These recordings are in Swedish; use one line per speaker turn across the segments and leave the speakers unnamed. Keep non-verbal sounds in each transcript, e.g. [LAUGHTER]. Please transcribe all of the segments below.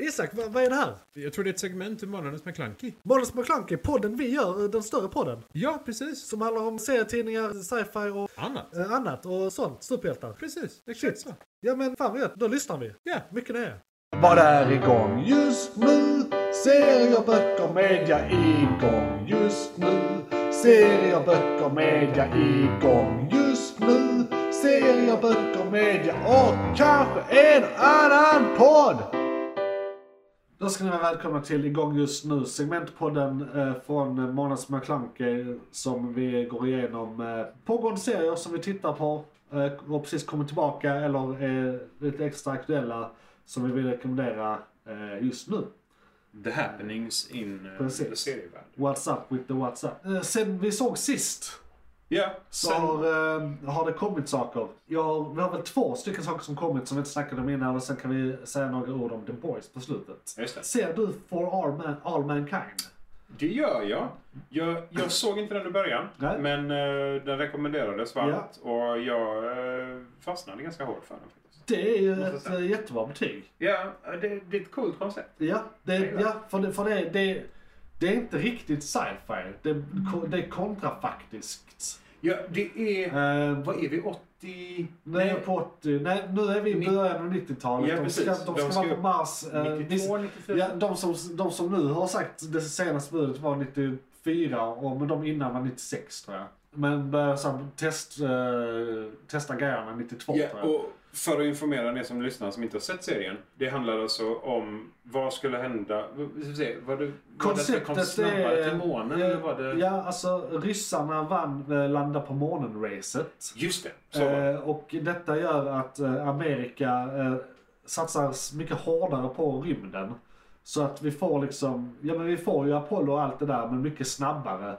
Isak, vad, vad är det här?
Jag tror det är ett segment ur Månadens McKlunky.
Måns McClunky, podden vi gör, eh, den större podden.
Ja, precis.
Som handlar om serietidningar, sci-fi och
Annat.
eh, annat och sånt. Superhjältar.
Precis, exakt så.
Ja men fan vad gött, då lyssnar vi.
Ja.
Mycket det är.
Vad är igång just nu? Serier, böcker, media igång just nu. Serier, böcker, media igång just nu. Serier, böcker, media och kanske en annan podd! Då ska ni vara välkomna till igång just nu, segmentpodden eh, från Månads McKlunky som vi går igenom eh, pågående serier som vi tittar på eh, och precis kommit tillbaka eller är lite extra aktuella som vi vill rekommendera eh, just nu.
The happenings in eh,
Precis.
the serievärld.
What's up with the what's up? Eh, sen vi såg sist
Ja,
så
sen,
har, eh, har det kommit saker. Jag har, vi har väl två stycken saker som kommit som vi inte snackade om innan och sen kan vi säga några ord om The Boys på slutet.
Just det.
Ser du For All, Man, All Mankind?
det gör jag. jag. Jag såg inte den i början,
Nej.
men eh, den rekommenderades varmt och jag eh, fastnade ganska hårt för den. faktiskt.
Det är ju
Måste
ett
säga.
eh, jättebra betyg.
Ja, det, det är ett coolt koncept.
Ja, det,
gillar
ja för, det, för det, det, det är inte riktigt sci-fi. Det, det är kontrafaktiskt.
Ja, det är...
Eh,
Vad är vi? 80?
Nu är jag på 80, eh, nej nu är vi i
Ni-
början av 90-talet.
Ja,
de, ska,
precis.
de, ska
De ska
vara på
upp
Mars. eh,
92,
vis-
94?
ja, de, som, de som nu har sagt det senaste budet var 94, och, men de innan var 96 tror jag. Men började så här, test, eh, testa grejerna 92 tror
Ja,
jag.
och för att informera er som lyssnar som inte har sett serien. Det handlar alltså om vad skulle hända... Vi ska se, Var det, var det att det kom
Konceptet
snabbare
är...
till månen?
eh,
eller var det...
Ja, alltså ryssarna vann eh, landa på månen-racet.
Just det, så var det.
Eh, och detta gör att eh, Amerika eh, satsar s- mycket hårdare på rymden. Så att vi får liksom, ja men vi får ju Apollo och allt det där men mycket snabbare.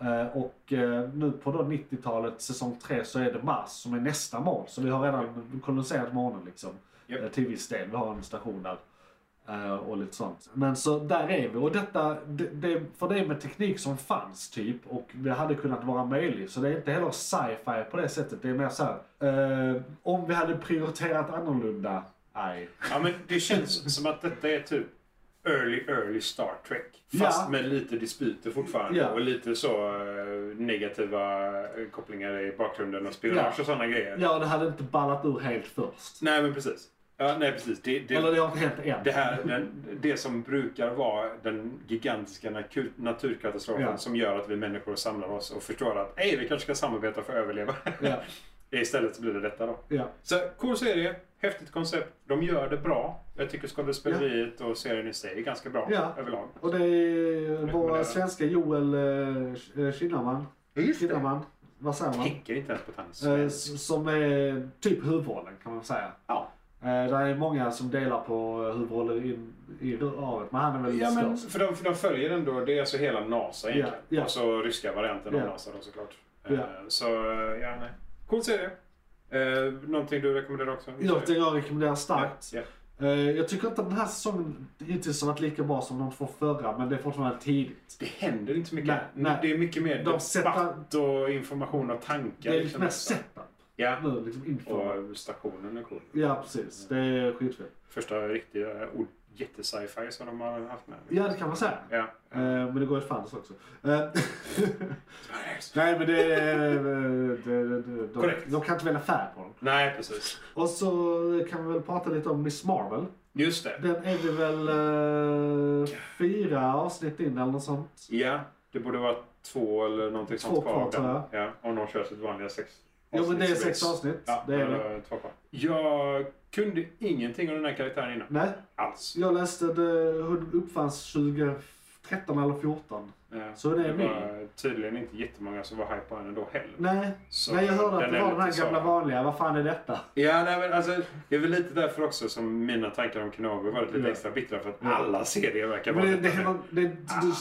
Eh, och eh, nu på då 90-talet, säsong 3, så är det Mars som är nästa mål. Så vi har redan koloniserat månen liksom.
Japp.
Eh, till viss del, vi har en station där. Eh, och lite sånt. Men så där är vi. Och detta, det, det, för det är med teknik som fanns typ och det hade kunnat vara möjligt. Så det är inte heller sci-fi på det sättet. Det är mer så här, eh, om vi hade prioriterat annorlunda. Nej.
Ja, men det känns som att detta är typ early, early Star Trek. Fast
Ja.
med lite disputer fortfarande
Ja.
och lite så eh, negativa eh, kopplingar i bakgrunden och spionage
Ja.
och sådana grejer.
Ja, det hade inte ballat ur helt först.
Nej, men precis. Ja, nej, precis. Det,
Eller
det,
det har inte hänt än.
det, här, den, det som brukar vara den gigantiska naku- naturkatastrofen
Ja.
som gör att vi människor samlar oss och förstår att Ej, vi kanske ska samarbeta för att överleva.
Ja,
[LAUGHS] Istället så blir det detta då.
ja.
Så cool serie, häftigt koncept. De gör det bra. Jag tycker skådespeleriet och serien i sig är ganska bra
Ja.
överlag.
Och det är vår
Rekommenderar.
svenska Joel eh, Sch- eh, Kinnaman. Kinnaman. Vad säger man?
Tänker inte ens på att han är
Eh,
svensk.
s- som är typ huvudrollen kan man säga.
Ja.
Eh, Det är många som delar på eh, huvudrollen i, i röret, men han är väl
Ja, men
störst.
för de, för de följer ändå, det är alltså hela NASA egentligen.
Ja, ja.
Och så ryska varianten
Ja.
av NASA då såklart.
Ja.
Eh, Så eh, ja, nej. Cool serie. Eh, någonting du rekommenderar också?
Någonting jag rekommenderar starkt.
Ja,
Eh, Jag tycker inte att den här säsongen hittills har varit lika bra som de två förra, men det är fortfarande tidigt.
Det händer inte så mycket.
Nej, nej.
Det är mycket mer
De
debatt
sätter-
och information och tankar.
det är lite
liksom.
mer setup
Ja.
nu, liksom inför.
Och stationen är cool.
Ja, precis. Det är skitfett.
Första riktiga ord, jätte-sci-fi som de har haft med.
Ja, det kan man säga.
Ja.
Eh, Men det går ju fans också. Eh, [LAUGHS] Nej, men det är... eh, det- det- De,
Korrekt.
de kan inte välja färg på dem.
Nej, precis.
Och så kan vi väl prata lite om Miss Marvel.
Just det.
Den är vi väl eh, fyra avsnitt in eller något sånt.
Ja, det borde vara två eller någonting
Två
sånt
kvar,
kvar. av den.
tror jag.
Ja, om de kör sitt vanliga sex
Jo men det är
avsnitts-
sex avsnitt.
Ja,
det är
då
det.
det två kvar. Jag kunde ingenting om den här karaktären innan.
Nej,
Alls.
jag läste att hon uppfanns 2013 eller 14.
Ja,
Så den är
Eh, det var tydligen inte jättemånga som var hype på henne då heller.
Nej,
Så
nej jag hörde att
den
det
är
var den här
lite
gamla
så.
vanliga. Vad fan är detta?
Ja, nej, men alltså, det är väl lite därför också som mina tankar om Kenobi varit lite
Ja.
extra bittra. För att
Ja.
alla serier verkar
Men
vara
det,
lite
det,
så här.
händer, det, det,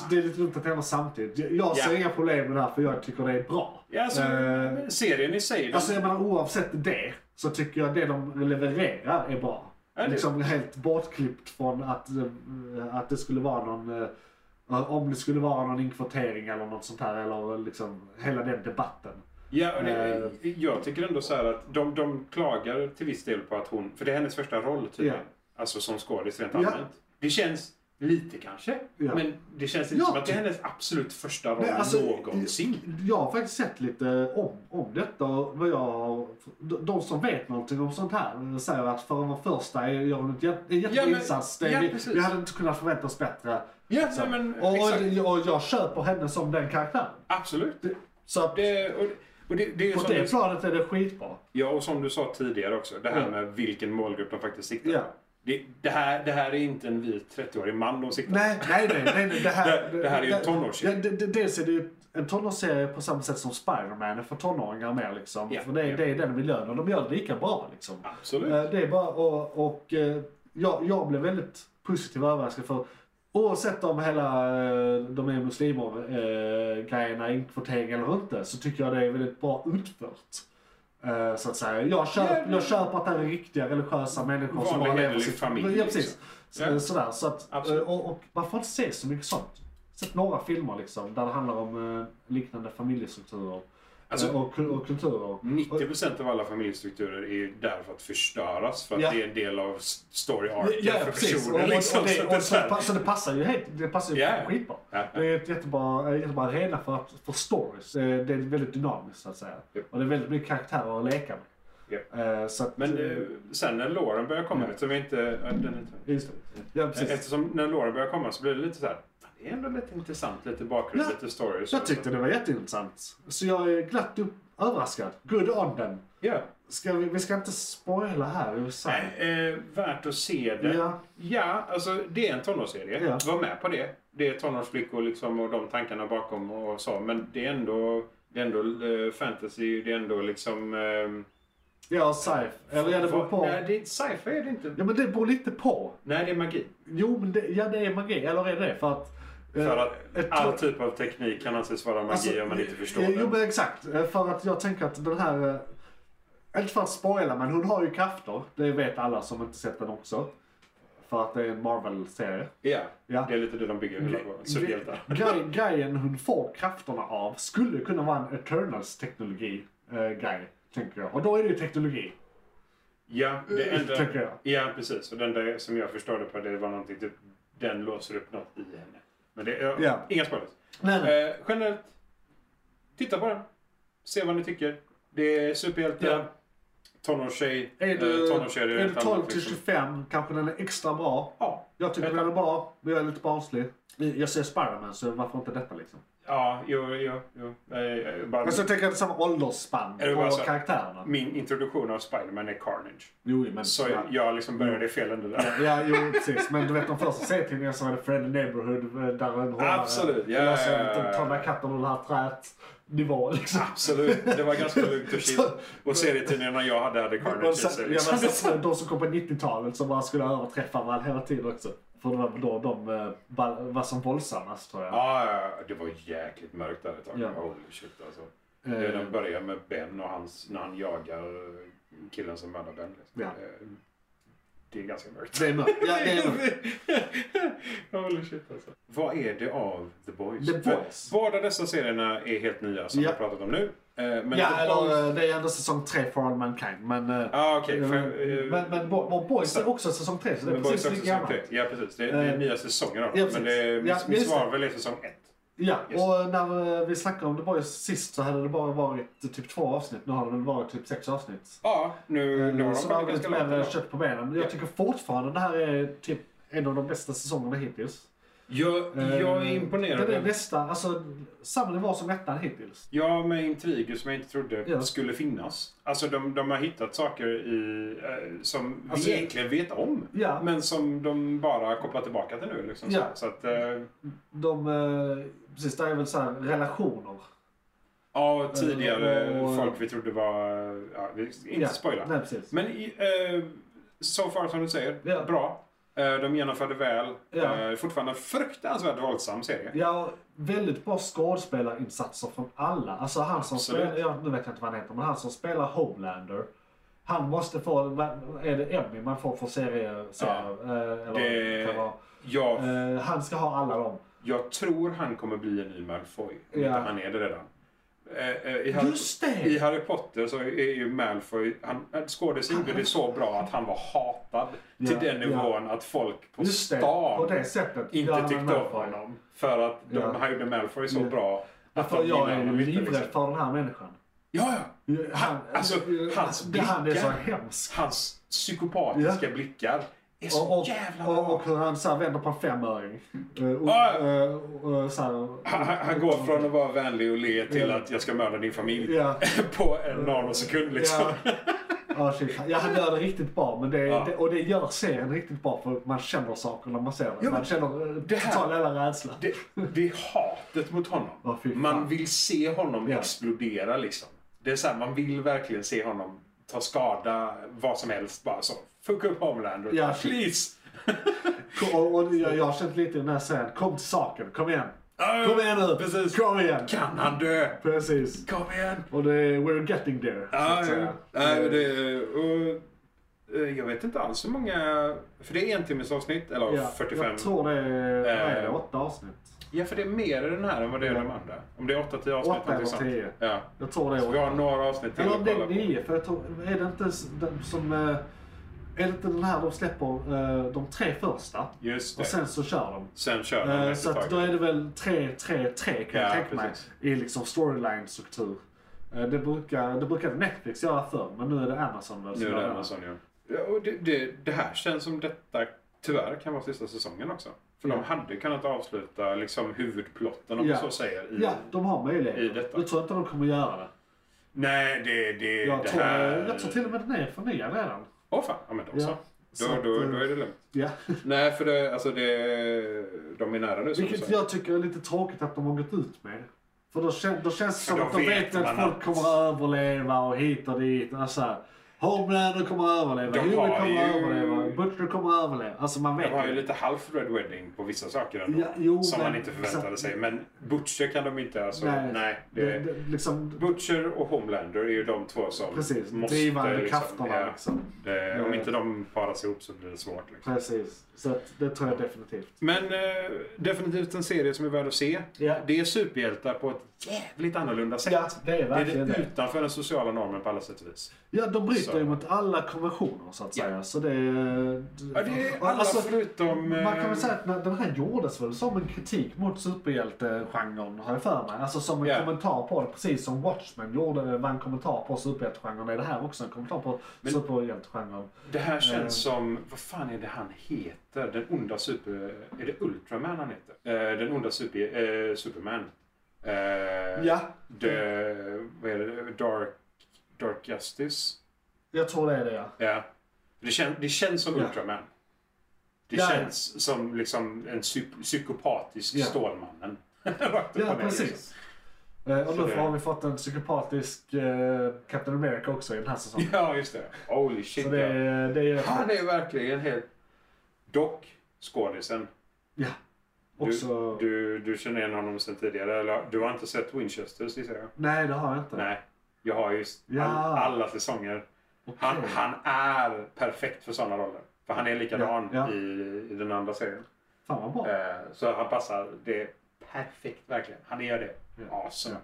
det är lite roligt att det händer samtidigt. Jag, jag ser
Ja.
inga problem med det här för jag tycker det är bra.
Ja, alltså,
Eh,
serien i sig. den-
Alltså jag menar oavsett det så tycker jag det de levererar är bra.
Ja, det-
Liksom helt bortklippt från att, eh, att det skulle vara någon, eh, om det skulle vara någon inkvotering eller något sånt här eller liksom hela den debatten.
Ja, och det,
Eh.
jag tycker ändå så här att de, de klagar till viss del på att hon, för det är hennes första roll tydligen,
Ja.
alltså som skådis rent
Ja.
allmänt. Det känns lite kanske,
Ja.
men det känns inte
Ja,
som att det är
ty-
hennes absolut första roll
Nej, alltså,
någonsin.
Jag har faktiskt sett lite om, om detta. och Vad jag, de de som vet någonting om sånt här eh, säger att för att vara första är- gör hon ett jä- en
Ja, men-
jätteinsats. Det-
ja,
vi,
precis.
vi hade inte kunnat förvänta oss bättre.
Ja,
Så.
nej, men
och,
eh, exakt.
och, och jag köper henne som den karaktären.
Absolut.
Så att
Det, och, och det, det är ju
på
som
det
du,
planet är det skitbra.
ja, och som du sa tidigare också, det här
Ja.
med vilken målgrupp de faktiskt siktar
Ja.
på. Det, det, här, det här är inte en vit 30-årig man de siktar på.
Nej, nej, nej. nej, nej det, här,
Det- det här är ju en tonårsserie.
det- det- Dels är det ju en tonårsserie på samma sätt som Spiderman är för tonåringar mer liksom.
Ja,
för det, är-
ja.
det är den miljön och de gör det lika bra liksom.
Absolut.
Eh, Det är bara, och, och eh, jag, jag blev väldigt positivt överraskad för oavsett om hela eh, de är muslimer eh, grejerna, inkvotering eller inte, så tycker jag det är väldigt bra utfört. Eh, Så att säga. Jag, köp,
Ja, det-
jag köper att det här är riktiga religiösa människor som
Vanlig
bara lever
hederlig
sitt...
familj,
Ja, precis. Så,
liksom. Ja.
Sådär, så att,
Absolut.
eh, och, och man får inte se så mycket sånt. Sett några filmer liksom, där det handlar om eh, liknande familjestrukturer
Alltså-
eh, och, kul- och kulturer.
90% av alla familjestrukturer är ju där för att förstöras. För att
Ja.
det är en del av s- story arc
Ja, ja
för
precis. Och, och,
personer.
och,
Liksom,
det,
så
och,
att det
så,
är
pa- så det passar ju helt. Det passar ju
Ja.
skitbra.
Ja.
Det är ett jättebra, en jättebra arena för, att- för stories. Eh, Det är väldigt dynamiskt så att säga.
Ja.
Och det är väldigt mycket karaktärer att leka med. Eh, Så att,
Men
eh,
eh, sen när låren börjar komma, eftersom vi inte... ja, Den är inte Eh,
Just det. Mm. Ja, precis.
Eftersom när låren börjar komma så blir det lite så här. "Fan, Det är ändå lite intressant, lite bakgrund,
Ja.
lite stories.
Jag tyckte det var jätteintressant. Så jag är glatt upp, överraskad. Good on them.
Ja.
Ska vi, vi ska inte spoila här i USA.
Nej, eh, värt att se det.
Ja.
Ja, alltså det är en tonårsserie.
Ja.
Var med på det. Det är tonårsflickor liksom och de tankarna bakom och så. Men det är ändå, det är ändå eh, fantasy, det är ändå liksom... ehm,
Ja, sci-fi. Eller ja, det beror
vad-
på.
Nej, det är, sci-fi är det inte.
Ja, men det beror lite på.
Nej, det är magi.
Jo, men det, ja, det är magi. Eller är det för att... eh,
För att
ett-
all typ av teknik kan anses vara magi
Alltså,
om man inte förstår
jo, Jo
den.
men exakt. Eh, För att jag tänker att den här... eh, Inte för att spoila men hon har ju krafter. Det vet alla som inte sett den också. För att det är en Marvel-serie.
Ja,
Ja.
det är lite det de bygger hela vår superhjältar.
Grej, grejen hon får krafterna av skulle kunna vara en Eternals teknologi-grej. Tänker jag. Och då är det ju teknologi.
Ja, det
Eh,
enda,
tänker jag.
ja, precis. Och den där som jag förstörde på det var någonting typ, den låser upp något i henne. Men det, ja,
Ja.
inga spoilers.
Nej, nej.
Eh, generellt, titta på den. Se vad ni tycker. Det är superhjälte,
Ja.
tonårstjej,
Är du,
eh, tonårstjej.
är du
ett annat
12 till
liksom.
25 kanske den är extra bra.
Ja,
Jag tycker
Ett-
den är bra, men jag är lite barnslig. Jag ser Spiderman så varför inte detta liksom?
ja, jo, jo, jo. Eh, eh, bara,
Alltså jag tänker att det är samma åldersspann
Är det bara
på
så-
karaktärerna.
min introduktion av Spiderman är Carnage.
Jo, men...
Så
ja.
jag liksom började i fel ände där.
Ja, jo precis. Men du vet de första serietidningarna som hade Friend Neighborhood eh, där en hårdare...
Absolut, ja,
Jag såg
ja, ja,
inte
ja.
ta med katten och det här träet nivå liksom.
Absolut, det var ganska lugnt
[LAUGHS]
och chill. Och serietidningarna jag hade hade Carnage
Men
i
sen,
sig.
jag
Liksom.
läste att de som kom på 90-talet som bara skulle överträffa varandra hela tiden också. För det var då de eh, ba- var som våldsammast tror jag.
[LAUGHS] Ja, ja, ja. det var jäkligt mörkt där ett tag.
Ja. Eh.
Holy shit alltså. Det den börjar med Ben och hans, när han jagar eh, killen som mördar Ben. Liksom.
Ja.
Eh, Det är ganska mörkt.
Det är mörkt. Ja, det är mörkt.
[LAUGHS] Holy shit alltså. Vad är det av The Boys?
The Boys.
För Båda dessa serierna är helt nya som
Ja.
vi har pratat om nu. Eh, Men
Ja,
The Boys...
eller eh, det är ändå säsong 3 for all mankind. Men, eh,
Ah, okej, för, eh,
men, men Bo- Bo- Boys är också säsong 3 så det är
The Boys
precis
också
lika gammalt.
säsong tre. Ja, precis. Det är, det är
Eh,
nya säsonger av
ja,
dem. Men det är,
precis.
Miss,
Ja,
Miss
just det.
Marvel är säsong ett.
Ja,
Just.
och när eh, vi snackade om The Boys sist så hade det bara varit typ två avsnitt. Nu har det väl varit typ sex avsnitt.
Ja, nu, nu har de
så det har
kommit
vi
ganska
lite
långt.
mer
ändå.
kött på benen. Jag
Ja.
tycker fortfarande det här är typ en av de bästa säsongerna hittills.
Jag, jag är
Eh,
imponerad.
Det är
över-
nästan, alltså samma nivå som ettan hittills.
Ja, med intriger som jag inte trodde
Ja.
skulle finnas. Alltså de, de har hittat saker i, eh, som
Alltså-
vi egentligen vet om.
Ja.
Men som de bara kopplar tillbaka till nu. Liksom,
Ja.
så, så att, eh,
De, eh, precis, det är väl så här relationer.
ja, tidigare
Eh, och-
folk vi trodde var... Ja, vi ska inte
ja.
spoila.
Nej, precis.
Men i, eh, so far som du säger,
Ja.
bra. Eh, de genomförde väl.
Ja.
Eh, fortfarande en fruktansvärt våldsam serie.
Ja, väldigt bra skådespelarinsatser från alla. Alltså han som
Absolut.
spelar, ja, nu vet jag inte vad han heter, men han som spelar Homelander. Han måste få, vad- är det Emmy man får för serie? serie eh, eller
Det-
det kan vara.
Jag
Eh, han ska ha alla dem.
Jag tror han kommer bli en ny Malfoy. Om
Ja.
inte han är det redan. eh, eh, i, Harry,
Just det!
I Harry Potter så är ju Malfoy, han, han- skådisen gjorde det så bra att han var hatad
Ja,
till den
ja.
nivån att folk på
Just det,
stan
på det sättet.
inte
Ja, men
tyckte om
Malfoy.
honom. För att de,
Ja.
han gjorde Malfoy så
Ja.
bra. Att
Därför
de
jag
gillade
är
honom inte,
livrädd
liksom.
för den här människan.
Ja, ja.
Han,
alltså, hans
det, han är så
blickar.
hemsk.
Hans psykopatiska blickar är så
Och, och,
jävla
och,
bra.
och hur han så här vänder på en femöring. Eh, Och,
Ja.
eh, och, och, så här-
Han, han han går från att vara vänlig och le till
Ja.
att jag ska mörda din familj
Ja.
[LAUGHS] på en nanosekund liksom.
Ja. Ja, shit. ja, han gör det riktigt bra. Men det,
Ja.
det, och det gör serien riktigt bra för man känner saker när man ser det.
Ja, men
man känner eh,
här-
total jävla rädsla.
Det, det är hatet mot honom.
Ja, fy fan.
man vill se honom
Ja.
explodera liksom. Det är så här, man vill verkligen se honom ta skada, vad som helst. Bara så, fuck upp Homelander.
Ja.
Please! [LAUGHS]
Och, och jag, jag har känt lite i den här serien, kom till saken, kom igen.
Ja,
Kom igen nu,
precis.
kom igen.
Kan han dö?
Precis.
Kom igen!
Och det är we're getting there. så
Ja,
att säga. Eh,
ja, ja, det, och, eh, jag vet inte alls hur många... För det är en timmes avsnitt, eller
Ja,
45.
Jag tror det är, vad är det,
Eh,
åtta avsnitt.
Ja, för det är mer i den här än vad det är i de andra. Om det är 8-10 avsnitt.
Åtta eller
någonting sånt.
tio.
Ja.
Jag tror det är
Så vi
åtta.
har några avsnitt till
Eller om
att
det
kolla
är
på.
nio, för jag tror, är det inte s- den som... eh, Är det inte den här de släpper eh, de tre första?
Just det.
Och
Sen,
sen så kör de.
kör de
Eh,
efter
Så att
taget.
då är det väl 3-3-3 kan jag
Ja,
tänka mig.
precis.
I liksom storyline-struktur. Eh, Det brukar, det brukade Netflix göra förr, men nu är det Amazon väl som
Nu är
gör
det Amazon ja. ja och det, det, det här känns som detta tyvärr kan vara sista säsongen också. För
Ja.
de hade kunnat avsluta liksom huvudplotten om
Ja.
man så säger. I,
Ja, de har
i
möjlighet.
detta.
Jag tror inte de kommer göra det.
Nej, det, det,
Jag,
det
tror,
här...
jag tror till och med den är förnyad redan.
Åh fan, ja men då så.
Ja, så
Då,
att,
då,
eh,
då är det lugnt.
Ja.
Nej, för det, alltså det, de är nära nu som du
Vilket
säger.
jag tycker är lite tråkigt att de har gått ut med. För då, kän, då känns det som
För då
att de vet
vet
att
man
folk
att-
kommer att överleva och hit och dit. Alltså, Homelander kommer att överleva,
De
Huey
har
kommer att
ju-
överleva, Butcher kommer att överleva. Alltså man vet
De har ju
ju.
lite halv Red Wedding på vissa saker ändå.
Ja, jo,
som
men-
man inte förväntade
exakt.
sig. Men Butcher kan de inte alltså. Nej. det,
det, det, liksom,
Butcher och Homelander är ju de två som
precis.
måste...
Drivande
liksom,
krafterna
ja.
liksom.
Det, om
Eh.
inte de paras ihop så blir det svårt. Liksom.
Precis. Så att, det tror jag definitivt.
Men eh, definitivt en serie som är värd att se.
Ja.
Det är superhjältar på ett jävligt annorlunda sätt.
Ja, det är
det är
verkligen
det
det.
utanför den sociala normen på alla sätt och vis.
Ja, de bryter
Så.
ju mot alla konventioner så att
Ja.
säga. Så det är...
Ja, det är alla förutom... eh,
Alltså, Man kan väl säga att när- den här gjordes väl som en kritik mot superhjältegenren har jag för mig. Alltså som en
Ja.
kommentar på det. Precis som Watchmen gjorde, var en kommentar på superhjältegenren. Är det här också en kommentar på
Men-
superhjältegenren?
Det här känns
Eh.
som... Vad fan är det han heter? Den onda super... Är det Ultraman han heter? Eh, den onda super, eh, Superman. Eh,
Ja,
the,
Mm.
vad är det? Dark, Dark Justice.
jag tror det är det ja.
Ja. Det, kän, det känns som
Ja.
Ultraman. Det
Ja, ja.
känns som liksom en psy- psykopatisk
Ja.
Stålmannen. [LAUGHS] Rakt upp
Ja,
och ner,
precis.
liksom.
Eh, Och
Så
nu
det-
har vi fått en psykopatisk eh, Captain America också i den här säsongen.
liksom. Ja, just det. Holy shit.
Så det,
[LAUGHS] ja.
är- det är...
Han är verkligen helt... Dock, skådisen.
Ja. Också...
Du, du känner igen honom sedan tidigare. Eller, du har inte sett Winchesters gissar jag?
Nej, det har jag inte.
Nej. Jag har just
Ja.
all, alla säsonger.
Okej.
Han, han är perfekt för sådana roller. För han är likadan
Ja, ja.
I, i den andra serien.
Fan vad bra.
Eh, Så han passar det är perfekt verkligen. Han gör det.
Ja.
Awesome.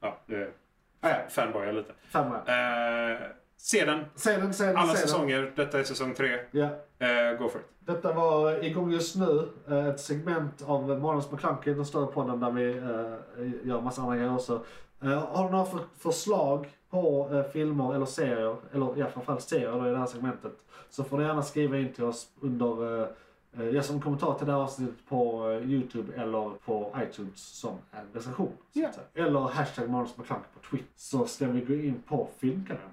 Ja, nu
Ja, ja.
fanboyar lite.
Fan vad...
Eh, se den.
Se den, se den,
Alla
se den.
säsonger. Detta är säsong tre.
Ja.
Eh, go for it.
Detta var igång just nu, eh, ett segment av Månadens McClunky, den större podden där vi eh, gör massa andra grejer också. Eh, Har du några för- förslag på eh, filmer eller serier, eller ja, framförallt serier då i det här segmentet, så får du gärna skriva in till oss under, eh, eh, ja, som kommentar till det här avsnittet på eh, YouTube eller på iTunes som en recension. så att
Ja.
säga. Eller hashtag Månadens McClunky på Twitter, så ska vi gå in på filmkalendern.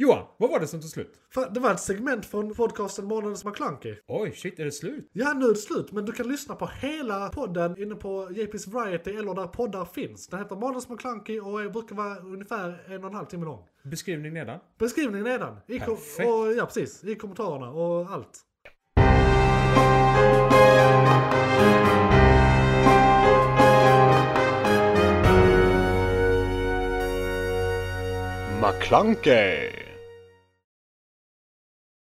Johan, vad var det som tog slut?
Fan, det var ett segment från podcasten Månadens McKlunky.
Oj, shit, är det slut?
Ja, nu är det slut, men du kan lyssna på hela podden inne på JP's Variety eller där poddar finns. Den heter Månadens McKlunky och är- brukar vara ungefär en och en halv timme lång.
Beskrivning nedan.
Beskrivningen nedan. I kom-
Perfekt.
och, ja, precis. I kommentarerna och allt.
McClunky!